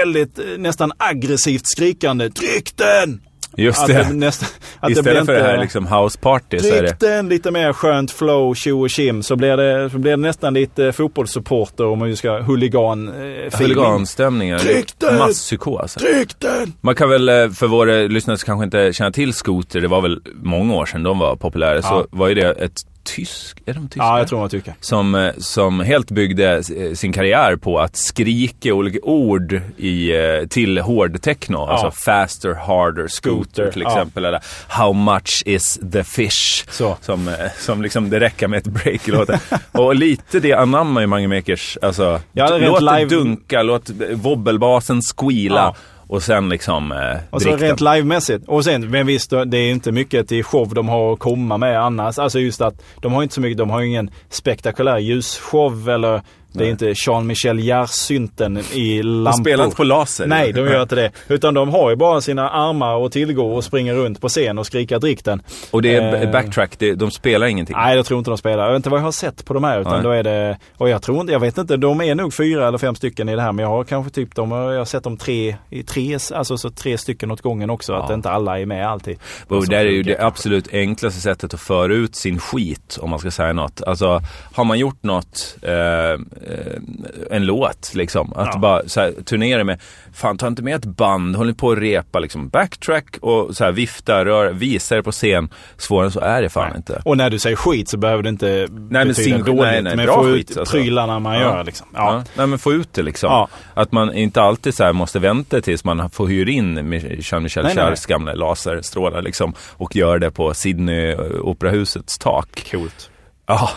[SPEAKER 2] Väldigt eh, nästan aggressivt skrikande. Tryck den!
[SPEAKER 1] just
[SPEAKER 2] Att
[SPEAKER 1] det.
[SPEAKER 2] det, nästan, att
[SPEAKER 1] Istället
[SPEAKER 2] det blir
[SPEAKER 1] för det här
[SPEAKER 2] inte-
[SPEAKER 1] liksom houseparty så är det
[SPEAKER 2] Tryck den lite mer skönt flow, tjo och tjim så blir det, så blir det nästan lite fotbollssupporter om man ju ska huligan eh, feeling.
[SPEAKER 1] huliganstämningar.
[SPEAKER 2] Tryck den!
[SPEAKER 1] Masspsykos. alltså.
[SPEAKER 2] Tryck den!
[SPEAKER 1] Man kan väl, eh, för våra lyssnare som kanske inte känner till skoter, det var väl många år sedan de var populära,
[SPEAKER 2] Ja.
[SPEAKER 1] så var ju det ett tysk, är de tyska?
[SPEAKER 2] Ja, jag tror man tycker.
[SPEAKER 1] Som, eh, som helt byggde eh, sin karriär på att skrika olika ord i, eh, till hård techno. Alltså faster, harder, scooter,
[SPEAKER 2] Scooter,
[SPEAKER 1] till
[SPEAKER 2] ja.
[SPEAKER 1] exempel. Eller how much is the fish?
[SPEAKER 2] Så.
[SPEAKER 1] Som, eh, som liksom, det räcker med ett break i låten. Och lite det anammar ju Mange Makers. Alltså,
[SPEAKER 2] Ja, det är rent
[SPEAKER 1] låt det
[SPEAKER 2] live-
[SPEAKER 1] dunka, låt eh, wobbelbasen squeala.
[SPEAKER 2] Ja.
[SPEAKER 1] Och sen liksom eh,
[SPEAKER 2] Och så
[SPEAKER 1] drick den.
[SPEAKER 2] rent livemässigt. Och sen, men visst, det är inte mycket till show de har att komma med annars. Alltså just att de har inte så mycket, de har ingen spektakulär ljusshow eller det är inte Jean-Michel Jarre-synten i
[SPEAKER 1] De
[SPEAKER 2] lampor.
[SPEAKER 1] spelar inte på laser.
[SPEAKER 2] Nej, de gör inte det. Utan de har ju bara sina armar och tillgå och springer runt på scen och skriker drikten.
[SPEAKER 1] Och det är
[SPEAKER 2] Eh,
[SPEAKER 1] b- backtrack, det, de spelar ingenting.
[SPEAKER 2] Nej, jag tror inte de spelar. Jag vet inte vad jag har sett på de här. Utan
[SPEAKER 1] Nej.
[SPEAKER 2] då är det, och jag tror inte, jag vet inte, de är nog fyra eller fem stycken i det här. Men jag har kanske typ de, jag har sett dem tre, i tre, alltså så tre stycken åt gången också. Att
[SPEAKER 1] Ja.
[SPEAKER 2] inte alla är med alltid. Alltså,
[SPEAKER 1] Och
[SPEAKER 2] Som
[SPEAKER 1] det är ju
[SPEAKER 2] funkar,
[SPEAKER 1] det absolut enklaste sättet att föra ut sin skit, om man ska säga något. Alltså, har man gjort något, eh, eh, en låt liksom, att
[SPEAKER 2] Ja.
[SPEAKER 1] bara så här, turnera med, fan ta inte med ett band, håll inte på och repa liksom, backtrack och så här, vifta, rör, visa er på scen. Svårare än så är det fan
[SPEAKER 2] Nej.
[SPEAKER 1] inte.
[SPEAKER 2] Och när du säger skit så behöver det inte
[SPEAKER 1] men
[SPEAKER 2] betyda
[SPEAKER 1] sing-
[SPEAKER 2] dåligt.
[SPEAKER 1] nej, nej,
[SPEAKER 2] men
[SPEAKER 1] bra
[SPEAKER 2] få ut
[SPEAKER 1] skit, alltså.
[SPEAKER 2] prylarna man
[SPEAKER 1] Ja.
[SPEAKER 2] gör liksom. Ja.
[SPEAKER 1] Ja. Nej men få ut det liksom.
[SPEAKER 2] Ja.
[SPEAKER 1] Att man inte alltid så här måste vänta tills man får hyra in Jean-Michel
[SPEAKER 2] nej,
[SPEAKER 1] Charles gamla laserstrålar liksom och gör det på Sydney eh, operahusets tak.
[SPEAKER 2] Coolt.
[SPEAKER 1] Ja,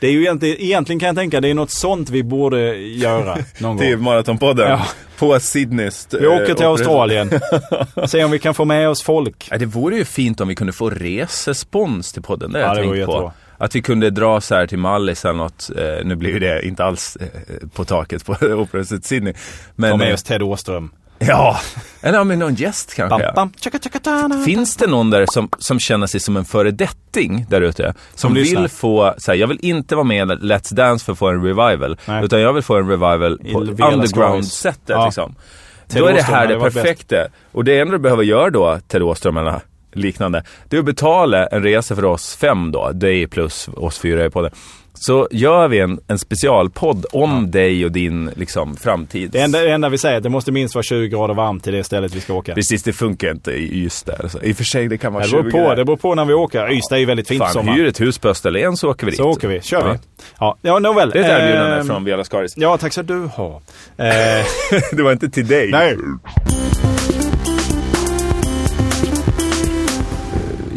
[SPEAKER 2] Det är ju egentligen, egentligen kan jag tänka, det är något sånt vi borde göra någon gång.
[SPEAKER 1] Maratonpodden.
[SPEAKER 2] Ja.
[SPEAKER 1] På Sydneys... eh,
[SPEAKER 2] Vi åker till Australien. Se om vi kan få med oss folk.
[SPEAKER 1] Ja, det vore ju fint om vi kunde få resespons till podden. Det har
[SPEAKER 2] Ja,
[SPEAKER 1] jag
[SPEAKER 2] det vore
[SPEAKER 1] tänkt på.
[SPEAKER 2] jättebra.
[SPEAKER 1] Att vi kunde dra så här till Mallis eller något. Eh, nu blir ju det inte alls eh, på taket på operahuset Sydney. Men,
[SPEAKER 2] Ta med
[SPEAKER 1] eh,
[SPEAKER 2] oss Ted Åström.
[SPEAKER 1] Ja, eller ja, men någon gäst kanske.
[SPEAKER 2] Bam, bam, tjaka, tjaka, tana.
[SPEAKER 1] Finns det någon där som, som känner sig som en föredetting där ute? Som vill
[SPEAKER 2] lyssnar.
[SPEAKER 1] få, så här, jag vill inte vara med i Let's Dance för att få en revival.
[SPEAKER 2] Nej.
[SPEAKER 1] Utan jag vill få en revival
[SPEAKER 2] I
[SPEAKER 1] på
[SPEAKER 2] Velas
[SPEAKER 1] underground-sättet
[SPEAKER 2] Stories. Ja.
[SPEAKER 1] liksom.
[SPEAKER 2] Ted
[SPEAKER 1] då är det
[SPEAKER 2] Åström
[SPEAKER 1] här
[SPEAKER 2] hade
[SPEAKER 1] det
[SPEAKER 2] varit bäst.
[SPEAKER 1] perfekta. Och det enda du behöver göra då, Ted Åström eller liknande, det är att betala en resa för oss fem då, dig plus oss fyra i podden. Så gör vi en, en specialpodd om dig och din liksom, framtid.
[SPEAKER 2] Det enda, det enda vi säger är att det måste minst vara 20 grader varmt till det stället vi ska åka.
[SPEAKER 1] Precis, det funkar inte i Ystad. Alltså. I och för sig, det kan vara
[SPEAKER 2] Det
[SPEAKER 1] 20
[SPEAKER 2] beror på, det beror på när vi åker. Ystad är ju väldigt fint på
[SPEAKER 1] Fan,
[SPEAKER 2] sommaren.
[SPEAKER 1] hyr ett hus på Österlen så åker vi dit.
[SPEAKER 2] Så åker vi, kör
[SPEAKER 1] Ja.
[SPEAKER 2] vi. Ja, ja nåväl.
[SPEAKER 1] Det är ett erbjudande
[SPEAKER 2] Ehm,
[SPEAKER 1] från Viola Skaris.
[SPEAKER 2] Ja, tack så du har. Eh,
[SPEAKER 1] det var inte till dig.
[SPEAKER 2] nej.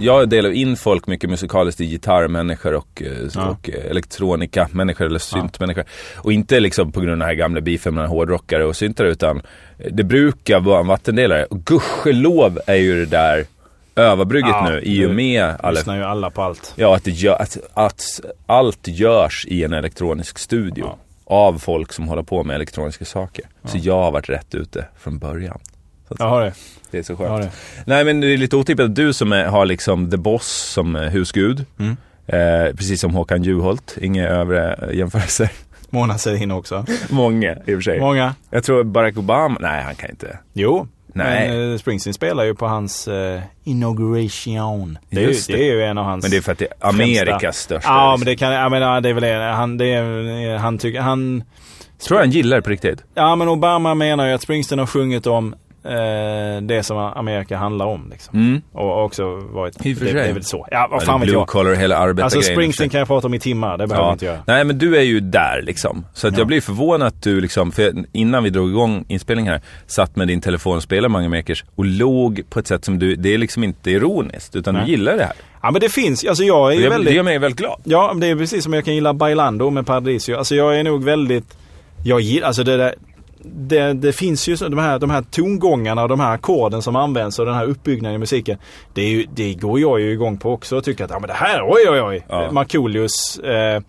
[SPEAKER 1] Jag delar in folk mycket musikaliskt i gitarrmänniskor och, eh,
[SPEAKER 2] Ja.
[SPEAKER 1] och eh, elektronikamänniskor eller syntmänniskor. Och inte liksom på grund av den här gamla beefen mellan hårdrockare och syntare utan eh, det brukar vara en vattendelare. Och gudskelov är ju det där överbrygget
[SPEAKER 2] Ja,
[SPEAKER 1] nu i och
[SPEAKER 2] det
[SPEAKER 1] med alla
[SPEAKER 2] Lyssnar ju alla på allt.
[SPEAKER 1] Ja, att, det gör, att, att allt görs i en elektronisk studio
[SPEAKER 2] Ja.
[SPEAKER 1] av folk som håller på med elektroniska saker. Så jag har varit rätt ute från början.
[SPEAKER 2] Jag har det.
[SPEAKER 1] Det är så
[SPEAKER 2] Jag har
[SPEAKER 1] skönt.
[SPEAKER 2] det.
[SPEAKER 1] Nej, men det är lite otippat att du som är, har liksom The Boss som eh, husgud,
[SPEAKER 2] Mm.
[SPEAKER 1] eh, precis som Håkan Juholt, inga övre eh, jämförelser.
[SPEAKER 2] Mona Sahlin också.
[SPEAKER 1] Många i och för sig.
[SPEAKER 2] Många.
[SPEAKER 1] Jag tror Barack Obama, nej han kan inte.
[SPEAKER 2] Jo.
[SPEAKER 1] Nej.
[SPEAKER 2] Men eh, Springsteen spelar ju på hans eh, inauguration. Det är, ju,
[SPEAKER 1] Just det.
[SPEAKER 2] det. är ju en av hans...
[SPEAKER 1] Men det är för att det är Amerikas
[SPEAKER 2] Främsta.
[SPEAKER 1] största.
[SPEAKER 2] Ja,
[SPEAKER 1] liksom.
[SPEAKER 2] men det kan... Jag menar, det är väl det. Han, det är, han tycker... Han...
[SPEAKER 1] Tror jag han gillar det på riktigt?
[SPEAKER 2] Ja, men Obama menar ju att Springsteen har sjungit om eh, det som Amerika handlar om. Liksom.
[SPEAKER 1] Mm.
[SPEAKER 2] Och också varit...
[SPEAKER 1] I och för
[SPEAKER 2] det, det
[SPEAKER 1] sig.
[SPEAKER 2] är väl så. Ja, vad
[SPEAKER 1] Ja,
[SPEAKER 2] fan
[SPEAKER 1] det
[SPEAKER 2] vet
[SPEAKER 1] är Blue
[SPEAKER 2] jag.
[SPEAKER 1] collar, hela arbetargrejen.
[SPEAKER 2] Alltså
[SPEAKER 1] i och för sig.
[SPEAKER 2] Springsteen kan jag prata om i timmar, det behöver vi inte göra.
[SPEAKER 1] Nej, men du är ju där liksom. Så att
[SPEAKER 2] Ja.
[SPEAKER 1] jag blir förvånad att du liksom, för jag- innan vi drog igång inspelningen här, satt med din telefon och spelade Mange Makers och låg på ett sätt som du, det är liksom inte ironiskt, utan
[SPEAKER 2] Nej.
[SPEAKER 1] du gillar det här.
[SPEAKER 2] Ja men det finns, alltså jag är
[SPEAKER 1] Och
[SPEAKER 2] ju
[SPEAKER 1] jag, Det
[SPEAKER 2] väldigt...
[SPEAKER 1] gör mig väldigt glad.
[SPEAKER 2] Ja, men det är precis som jag kan gilla Bailando med Paradiso. Alltså jag är nog väldigt... Jag gillar, alltså det där... Det, det finns ju så, de här, de här tongångarna och de här ackorden som används och den här uppbyggnaden i musiken. Det, är ju, det går jag ju igång på också och tycker att ja, men det här, oj oj oj!
[SPEAKER 1] Ja.
[SPEAKER 2] Markoolios eh,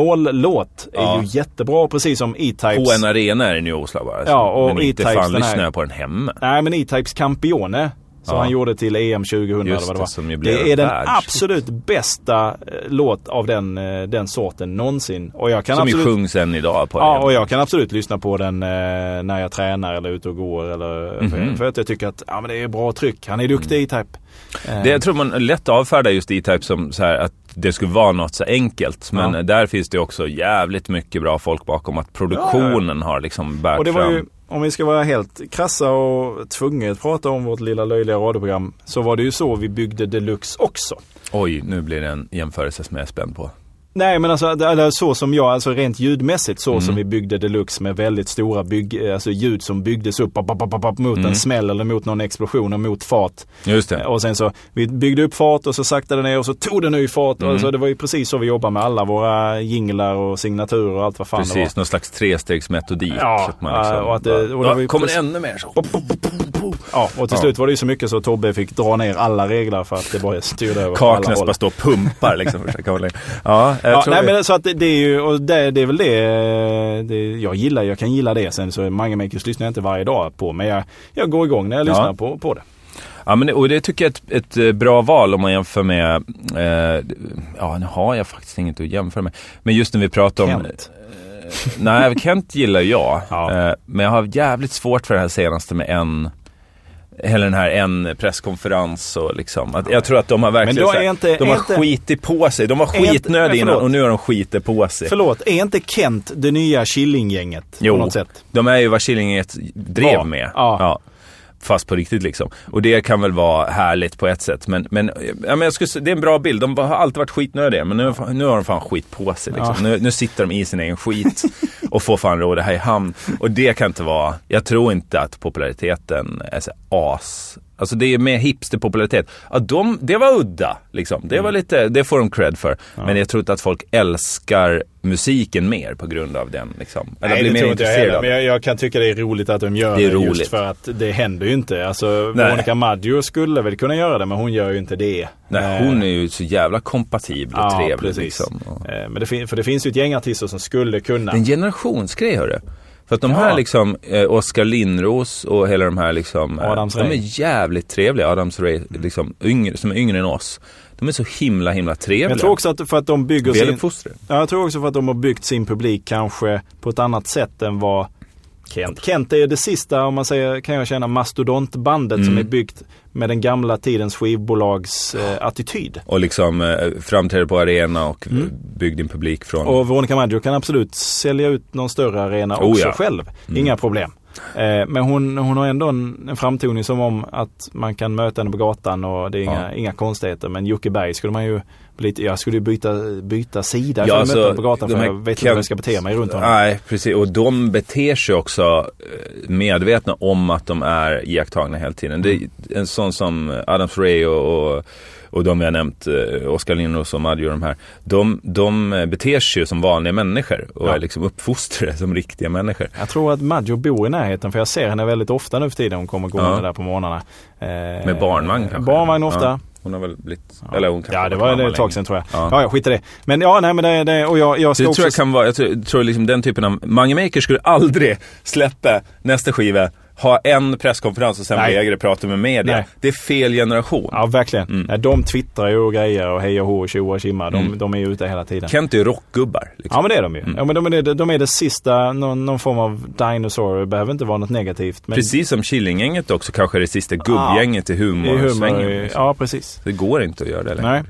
[SPEAKER 2] mållåt är
[SPEAKER 1] Ja.
[SPEAKER 2] ju jättebra precis som
[SPEAKER 1] På
[SPEAKER 2] E-Types.
[SPEAKER 1] en arena är den ju oslagbara. alltså.
[SPEAKER 2] Ja, och
[SPEAKER 1] men inte
[SPEAKER 2] E-Types
[SPEAKER 1] fan
[SPEAKER 2] den här-
[SPEAKER 1] lyssnar jag på den hemma.
[SPEAKER 2] Nej men E-Types Campione som
[SPEAKER 1] Ja.
[SPEAKER 2] han gjorde till EM 2000 eller
[SPEAKER 1] Just
[SPEAKER 2] vad
[SPEAKER 1] det,
[SPEAKER 2] det var.
[SPEAKER 1] som ju blev
[SPEAKER 2] Det är den
[SPEAKER 1] världs-
[SPEAKER 2] absolut bästa eh, låt av den, eh, den sorten någonsin. Och jag kan
[SPEAKER 1] Som ju
[SPEAKER 2] absolut...
[SPEAKER 1] sjungs än idag på
[SPEAKER 2] Ja,
[SPEAKER 1] arenor.
[SPEAKER 2] och jag kan absolut lyssna på den eh, när jag tränar eller är ute och går. Eller,
[SPEAKER 1] Mhm.
[SPEAKER 2] för, för att jag tycker att ja, men det är bra tryck. Han är duktig i type. Eh,
[SPEAKER 1] Mm. Det, jag tror man lätt avfärdar just E-Type som så här att det skulle vara något så enkelt. Men
[SPEAKER 2] Ja.
[SPEAKER 1] där finns det också jävligt mycket bra folk bakom. Att produktionen har liksom bärt
[SPEAKER 2] och det var
[SPEAKER 1] fram.
[SPEAKER 2] ju, om vi ska vara helt krassa och tvunget prata om vårt lilla löjliga radioprogram, så var det ju så vi byggde Deluxe också.
[SPEAKER 1] Oj, nu blir det en jämförelse som jag är spänd på.
[SPEAKER 2] Nej men alltså det det är så som jag, alltså rent ljudmässigt så
[SPEAKER 1] Mm.
[SPEAKER 2] som vi byggde deluxe med väldigt stora bygg, alltså ljud som byggdes upp bap, bap, bap, bap, bap, mot
[SPEAKER 1] Mm.
[SPEAKER 2] en smäll eller mot någon explosion och mot fart.
[SPEAKER 1] Just det.
[SPEAKER 2] Eh, Och sen så, vi byggde upp fart och så saktade ner och så tog det ny fart.
[SPEAKER 1] Mm.
[SPEAKER 2] Och så, det var ju precis så vi jobbar med alla våra jinglar och signaturer och allt vad fan det var.
[SPEAKER 1] Precis, någon slags trestegsmetodik.
[SPEAKER 2] Ja,
[SPEAKER 1] så att man liksom
[SPEAKER 2] och att det- och det
[SPEAKER 1] bara,
[SPEAKER 2] var ju
[SPEAKER 1] kommer det
[SPEAKER 2] precis-
[SPEAKER 1] ännu mer så.
[SPEAKER 2] Ja, och till
[SPEAKER 1] Ja.
[SPEAKER 2] slut var det ju så mycket så att Tobbe fick dra ner alla regler för att det bara styrde över på alla
[SPEAKER 1] Kaknäs
[SPEAKER 2] håll.
[SPEAKER 1] bara står och pumpar liksom. försöker hålla in. ja, jag
[SPEAKER 2] Ja,
[SPEAKER 1] tror
[SPEAKER 2] nej,
[SPEAKER 1] det.
[SPEAKER 2] men så att det, det är ju, och det, det är väl det, eh, det jag gillar, jag kan gilla det. Sen så är Mange Makers lyssnar jag inte varje dag på, men jag, jag går igång när jag
[SPEAKER 1] Ja.
[SPEAKER 2] lyssnar på, på det.
[SPEAKER 1] Ja, men det, och det tycker jag är ett, ett eh, bra val om man jämför med... Eh, ja, nu har jag faktiskt inget att jämföra med. Men just när vi pratar om...
[SPEAKER 2] Kent.
[SPEAKER 1] Nej, Kent gillar jag.
[SPEAKER 2] Ja.
[SPEAKER 1] Eh, Men jag har jävligt svårt för det här senaste med en... Eller den här en presskonferens och liksom. Att jag tror att de har verkligen
[SPEAKER 2] då är
[SPEAKER 1] så här,
[SPEAKER 2] inte-
[SPEAKER 1] de har
[SPEAKER 2] är inte-
[SPEAKER 1] skitit på sig. De var
[SPEAKER 2] inte- nej,
[SPEAKER 1] skitnödiga innan
[SPEAKER 2] förlåt.
[SPEAKER 1] och nu har de skitit på sig.
[SPEAKER 2] Förlåt, är inte Kent det nya Killinggänget på något sätt?
[SPEAKER 1] de är ju vad Killinget drev
[SPEAKER 2] Var.
[SPEAKER 1] med.
[SPEAKER 2] Ja.
[SPEAKER 1] Fast på riktigt liksom. Och det kan väl vara härligt på ett sätt. Men, men, ja, men jag skulle, säga- det är en bra bild. De har alltid varit skitnödiga, men nu, nu har de fan skit på sig. Liksom. Nu, nu sitter de i sin egen skit och får fan ro det här i hamn. Och det kan inte vara... Jag tror inte att populariteten är så här as... Alltså det är mer hipsterpopularitet. Ja, de, det var udda, liksom. Det,
[SPEAKER 2] Mm.
[SPEAKER 1] var lite, det får de cred för. Men jag tror inte att folk älskar musiken mer på grund av den. Liksom. Eller blir mer intresserade av
[SPEAKER 2] Men
[SPEAKER 1] den.
[SPEAKER 2] jag, jag kan tycka det är roligt att de gör
[SPEAKER 1] Det
[SPEAKER 2] det,
[SPEAKER 1] är roligt.
[SPEAKER 2] just för att det händer ju inte. Alltså,
[SPEAKER 1] Nej.
[SPEAKER 2] Veronica Maggio skulle väl kunna göra det, men hon gör ju inte det.
[SPEAKER 1] Nej,
[SPEAKER 2] Eh,
[SPEAKER 1] hon är ju så jävla kompatibel och trevlig. Liksom. Och-
[SPEAKER 2] Eh, Men det, fin- för det finns ju ett gäng artister som skulle kunna.
[SPEAKER 1] Det är en generationsgrej, hörru. För att de här
[SPEAKER 2] Ja.
[SPEAKER 1] liksom, eh, Oskar Lindros och hela de här liksom, eh,
[SPEAKER 2] Adams
[SPEAKER 1] de
[SPEAKER 2] Ray.
[SPEAKER 1] är jävligt trevliga. Adams Ray, liksom, yngre, som är yngre än oss. De är så himla, himla trevliga.
[SPEAKER 2] Men jag tror också att för att de bygger sin...
[SPEAKER 1] Väluppfostrade.
[SPEAKER 2] Ja, jag tror också för att de har byggt sin publik kanske på ett annat sätt än vad Kent. Kent är det sista, om man säger, kan jag känna, mastodontbandet
[SPEAKER 1] Mm.
[SPEAKER 2] som är byggt med den gamla tidens skivbolags eh, attityd.
[SPEAKER 1] Och liksom eh, framträder på arena och mm. byggd din publik från...
[SPEAKER 2] Och Veronica Maggio kan absolut sälja ut någon större arena
[SPEAKER 1] Oh,
[SPEAKER 2] också
[SPEAKER 1] ja.
[SPEAKER 2] själv. Inga problem. Eh, men hon, hon har ändå en, en framtoning som om att man kan möta henne på gatan och det är inga,
[SPEAKER 1] Ja.
[SPEAKER 2] inga konstigheter. Men Jocke Berg skulle man ju bli lite, jag skulle ju byta, byta sida
[SPEAKER 1] Ja,
[SPEAKER 2] ja,
[SPEAKER 1] alltså,
[SPEAKER 2] jag möter henne på gatan
[SPEAKER 1] de
[SPEAKER 2] för
[SPEAKER 1] här
[SPEAKER 2] jag vet inte
[SPEAKER 1] Kent-
[SPEAKER 2] hur jag ska bete mig runt honom.
[SPEAKER 1] Nej, precis. Och de beter sig också eh, medvetna om att de är iakttagna hela tiden. Det är en sån som Adams Ray och, och, och de jag nämnt, eh, Oskar Lindros och Maggio och de här. De, de eh, beter sig ju som vanliga människor och
[SPEAKER 2] Ja.
[SPEAKER 1] är liksom uppfostrade som riktiga människor.
[SPEAKER 2] Jag tror att Maggio bor i närheten för jag ser henne väldigt ofta nu för tiden. Hon kommer gående
[SPEAKER 1] Ja.
[SPEAKER 2] där på morgnarna. Eh,
[SPEAKER 1] Med barnvagn kanske?
[SPEAKER 2] Barnvagn ofta.
[SPEAKER 1] Ja. Hon har väl blivit... Eller hon kanske
[SPEAKER 2] Ja,
[SPEAKER 1] har
[SPEAKER 2] det
[SPEAKER 1] varit
[SPEAKER 2] var
[SPEAKER 1] mamma
[SPEAKER 2] det ett tag
[SPEAKER 1] länge.
[SPEAKER 2] sedan tror jag.
[SPEAKER 1] Ja.
[SPEAKER 2] Ja, ja skit i det. Men ja, nej men det, det och jag, jag
[SPEAKER 1] Så
[SPEAKER 2] ska
[SPEAKER 1] det
[SPEAKER 2] också...
[SPEAKER 1] tror jag kan vara, jag tror, tror liksom den typen av, Mange Maker skulle aldrig släppa nästa skiva, ha en presskonferens och sen
[SPEAKER 2] Nej.
[SPEAKER 1] vägra prata med media.
[SPEAKER 2] Nej.
[SPEAKER 1] Det är fel generation.
[SPEAKER 2] Ja, verkligen.
[SPEAKER 1] Mm.
[SPEAKER 2] Nej, de twittrar ju och grejer och hej och hå och tjo och tjimma. De, de är ju ute hela tiden.
[SPEAKER 1] Kent är ju rockgubbar. Liksom.
[SPEAKER 2] Ja men det är de ju. Ja, men de, är det, de är det sista, någon, någon form av dinosaur. Det behöver inte vara något negativt. Men
[SPEAKER 1] Precis som Killinggänget också kanske är det sista gubbgänget i
[SPEAKER 2] i humor-
[SPEAKER 1] humorsvängen. liksom.
[SPEAKER 2] Ja precis.
[SPEAKER 1] Det går inte att göra det längre.
[SPEAKER 2] Nej.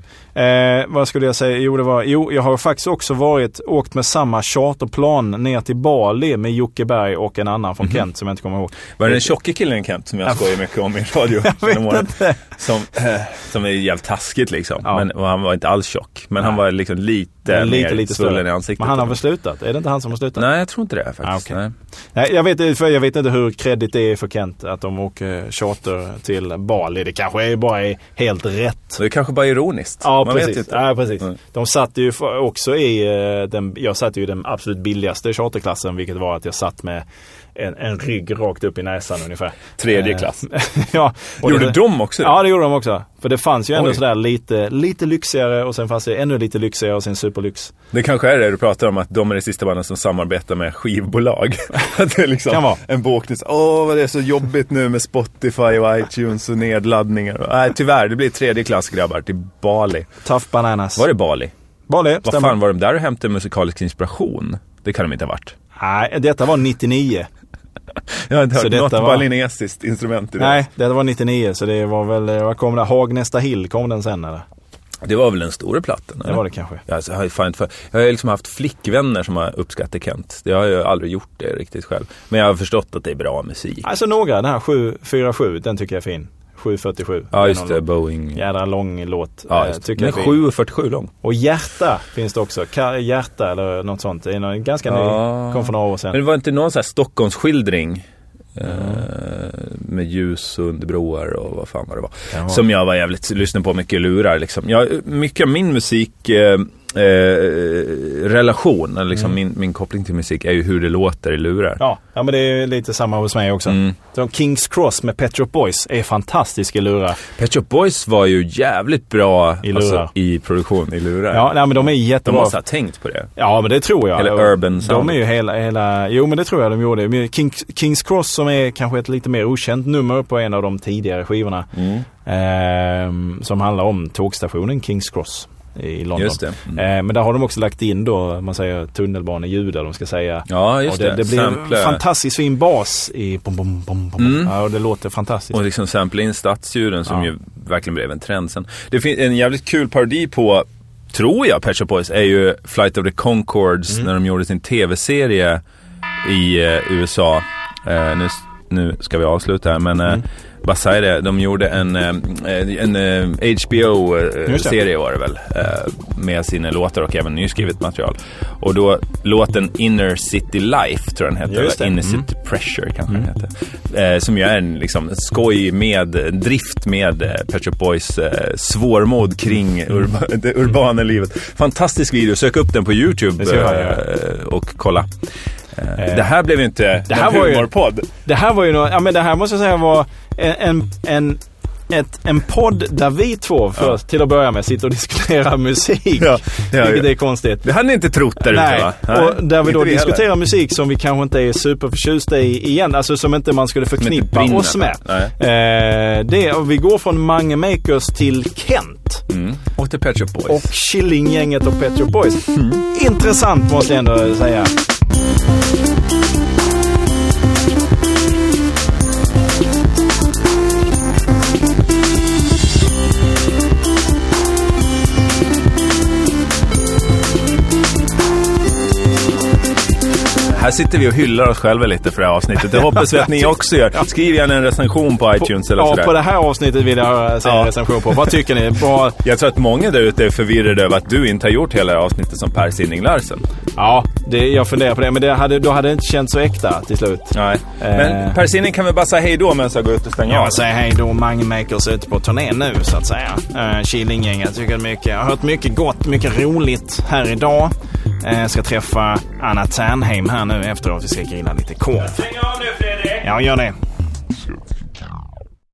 [SPEAKER 2] Eh, vad skulle jag säga? Jo, det var, jo, jag har faktiskt också varit, åkt med samma charterplan ner till Bali med Jocke Berg och en annan
[SPEAKER 1] Mhm.
[SPEAKER 2] från Kent som jag inte kommer ihåg.
[SPEAKER 1] Var det den tjocke killen Kent som jag skojar mycket om i radio? genom åren? Som, eh, som är jävligt taskigt liksom.
[SPEAKER 2] Ja.
[SPEAKER 1] Men, och han var inte alls tjock. Men han
[SPEAKER 2] Nej.
[SPEAKER 1] var liksom lite,
[SPEAKER 2] Men
[SPEAKER 1] mer svullen i ansiktet. liksom.
[SPEAKER 2] Men han har väl slutat? Är det inte han som har slutat?
[SPEAKER 1] Nej, jag tror inte det faktiskt.
[SPEAKER 2] Ah, okej.
[SPEAKER 1] Nej.
[SPEAKER 2] Nej, jag, vet, för jag vet inte hur kredit det är för Kent att de åker charter till Bali. Det kanske är bara är helt rätt.
[SPEAKER 1] Så det kanske bara är ironiskt.
[SPEAKER 2] Ja,
[SPEAKER 1] Man vet ju
[SPEAKER 2] precis.
[SPEAKER 1] inte.
[SPEAKER 2] Ja, precis.
[SPEAKER 1] Mm.
[SPEAKER 2] De satt ju för- också i eh, den, jag satt ju i den absolut billigaste charterklassen vilket var att jag satt med en, en rygg rakt upp i näsan ungefär. Eh,
[SPEAKER 1] Tredje klass.
[SPEAKER 2] ja, och
[SPEAKER 1] Gjorde
[SPEAKER 2] det-
[SPEAKER 1] de också det?
[SPEAKER 2] Ja, det gjorde de också. För det fanns ju ändå
[SPEAKER 1] Oj.
[SPEAKER 2] sådär lite, lite lyxigare och sen fanns det ännu lite lyxigare och sen superlyx.
[SPEAKER 1] Det kanske är det du pratar om, att de är det sista banden som samarbetar med skivbolag. att det är liksom
[SPEAKER 2] Kan vara.
[SPEAKER 1] en bokning. så, Åh, vad det är så jobbigt nu med Spotify och iTunes och nedladdningar. Nej, tyvärr, det blir tredje klass grabbar till Bali.
[SPEAKER 2] Tough bananas.
[SPEAKER 1] Var det Bali?
[SPEAKER 2] Bali,
[SPEAKER 1] Vad fan var de där och hämtade musikalisk inspiration? Det kan de inte ha varit.
[SPEAKER 2] Nej, detta var 99.
[SPEAKER 1] Jag har inte
[SPEAKER 2] Så
[SPEAKER 1] hört
[SPEAKER 2] detta
[SPEAKER 1] något
[SPEAKER 2] var-
[SPEAKER 1] balinesiskt instrument i det.
[SPEAKER 2] Nej, det var 99 så det var väl, eh, vad kom det? Hagnästa Hill, kom den sen eller?
[SPEAKER 1] Det var väl den stora plattan?
[SPEAKER 2] Det var det kanske.
[SPEAKER 1] Jag har, ju fan inte för... jag har ju liksom haft flickvänner som har uppskattat Kent. Jag har ju aldrig gjort det riktigt själv. Men jag har förstått att det är bra musik.
[SPEAKER 2] Alltså några, den här 747, den tycker jag är fin. 747.
[SPEAKER 1] Ja, just
[SPEAKER 2] Det är
[SPEAKER 1] det.
[SPEAKER 2] någon
[SPEAKER 1] Boeing.
[SPEAKER 2] Jädra lång låt.
[SPEAKER 1] Ja,
[SPEAKER 2] eh,
[SPEAKER 1] just det.
[SPEAKER 2] tycker
[SPEAKER 1] Den är
[SPEAKER 2] jag är fin.
[SPEAKER 1] 7,47 lång.
[SPEAKER 2] Och Hjärta finns det också. Ka- hjärta eller något sånt. Det är någon, ganska
[SPEAKER 1] Ja.
[SPEAKER 2] ny. Kom för några år sedan.
[SPEAKER 1] Men det var inte någon sån här Stockholmsskildring eh, med ljus och under broar och vad fan vad det var.
[SPEAKER 2] Mm. Ja.
[SPEAKER 1] Som jag var jävligt, lyssnade på mycket i lurar liksom. Jag, mycket av min musik eh, eh, relation, eller
[SPEAKER 2] Mm.
[SPEAKER 1] liksom min, min koppling till musik är ju hur det låter i lurar.
[SPEAKER 2] Ja, ja, men det är lite samma hos mig också.
[SPEAKER 1] Mm.
[SPEAKER 2] De Kings Cross med Pet Shop Boys är fantastiska lurar.
[SPEAKER 1] Pet Shop Boys var ju jävligt bra alltså,
[SPEAKER 2] I lurar.
[SPEAKER 1] i produktion i lurar.
[SPEAKER 2] Ja, nej, men de är
[SPEAKER 1] De
[SPEAKER 2] jättebra.
[SPEAKER 1] måste ha tänkt på det.
[SPEAKER 2] Ja, men det tror jag.
[SPEAKER 1] Eller
[SPEAKER 2] Och
[SPEAKER 1] Urban Sound.
[SPEAKER 2] De är ju hela, hela... Jo, men det tror jag de gjorde. Men Kings, Kings Cross som är kanske ett lite mer okänt nummer på en av de tidigare skivorna.
[SPEAKER 1] Mm.
[SPEAKER 2] ehm, som handlar om tågstationen Kings Cross i London.
[SPEAKER 1] Just det. Mm.
[SPEAKER 2] Eh, men där har de också lagt in då, man säger tunnelbaneljud eller vad de ska säga.
[SPEAKER 1] Ja, just
[SPEAKER 2] och det,
[SPEAKER 1] det.
[SPEAKER 2] det blir
[SPEAKER 1] Sample.
[SPEAKER 2] en fantastiskt fin bas i... Bom, bom, bom, bom.
[SPEAKER 1] Mm.
[SPEAKER 2] Ja, och det låter fantastiskt.
[SPEAKER 1] Och liksom sampla in stadsdjuren som
[SPEAKER 2] Ja.
[SPEAKER 1] ju verkligen blev en trend sen. Det finns en jävligt kul parodi på, tror jag, Pet Shop Boys är ju Flight of the Conchords
[SPEAKER 2] Mm.
[SPEAKER 1] när de gjorde sin tv-serie i eh, USA. Eh, nu, nu ska vi avsluta här men
[SPEAKER 2] Mm.
[SPEAKER 1] eh, bara säga det, de gjorde en, eh, en eh,
[SPEAKER 2] Just det.
[SPEAKER 1] HBO-serie var det väl. eh, Med sina låtar och även nyskrivet material. Och då låten Inner City Life tror jag den heter.
[SPEAKER 2] Just
[SPEAKER 1] eller
[SPEAKER 2] det. Mm.
[SPEAKER 1] Inner City Pressure kanske den heter. Eh, som ju är en liksom, skoj med, eh, drift med eh, Pet Shop Boys eh, svårmod kring
[SPEAKER 2] Mm.
[SPEAKER 1] urba, det urbana livet. Fantastisk video, sök upp den på YouTube
[SPEAKER 2] Det ska jag
[SPEAKER 1] eh, och kolla. Eh, det här blev ju inte
[SPEAKER 2] det här
[SPEAKER 1] någon
[SPEAKER 2] var ju-
[SPEAKER 1] humorpodd.
[SPEAKER 2] Det här var ju nå ja men det här måste jag säga var en, en, en, ett, en podd där vi två först till att börja med sitter och diskuterar musik.
[SPEAKER 1] Ja, ja,
[SPEAKER 2] vilket
[SPEAKER 1] ja.
[SPEAKER 2] är konstigt.
[SPEAKER 1] Det hade ni inte trott där ute
[SPEAKER 2] Nej,
[SPEAKER 1] va?
[SPEAKER 2] och där vi
[SPEAKER 1] inte
[SPEAKER 2] då
[SPEAKER 1] heller.
[SPEAKER 2] diskuterar musik som vi kanske inte är superförtjusta i igen. Alltså som inte man skulle förknippa
[SPEAKER 1] brinner
[SPEAKER 2] oss med.
[SPEAKER 1] för. Nej.
[SPEAKER 2] Eh, det, och vi går från Mange Makers till Kent.
[SPEAKER 1] Mm. Och till Pet Shop Boys.
[SPEAKER 2] Och Killinggänget och Pet Shop Boys. Intressant måste jag ändå säga.
[SPEAKER 1] Här sitter vi och hyllar oss själva lite för det här avsnittet. Det hoppas vi att ni också gör. Skriv gärna en recension på iTunes eller
[SPEAKER 2] Ja,
[SPEAKER 1] sådär.
[SPEAKER 2] på det här avsnittet vill jag se en
[SPEAKER 1] Ja.
[SPEAKER 2] recension på. Vad tycker ni? Bra,
[SPEAKER 1] Jag tror att många där ute är förvirrade över att du inte har gjort hela avsnittet som Per Sinding Larsen.
[SPEAKER 2] Ja, det, jag funderar på det. Men det hade, då hade det inte känts så äkta till slut.
[SPEAKER 1] Nej. Men
[SPEAKER 2] Eh.
[SPEAKER 1] Per Sinding kan väl bara säga hej då medan jag går ut och stänger av.
[SPEAKER 2] Jag säger hej då Mange Makers är ute på turné nu så att säga. Eh, Killinggänget tycker mycket. Jag har hört mycket gott, mycket roligt här idag. Eh, ska träffa Anna Ternheim här nu efteråt. Vi ska grilla lite korv.
[SPEAKER 5] Stäng av nu Fredrik!
[SPEAKER 2] Ja, gör det.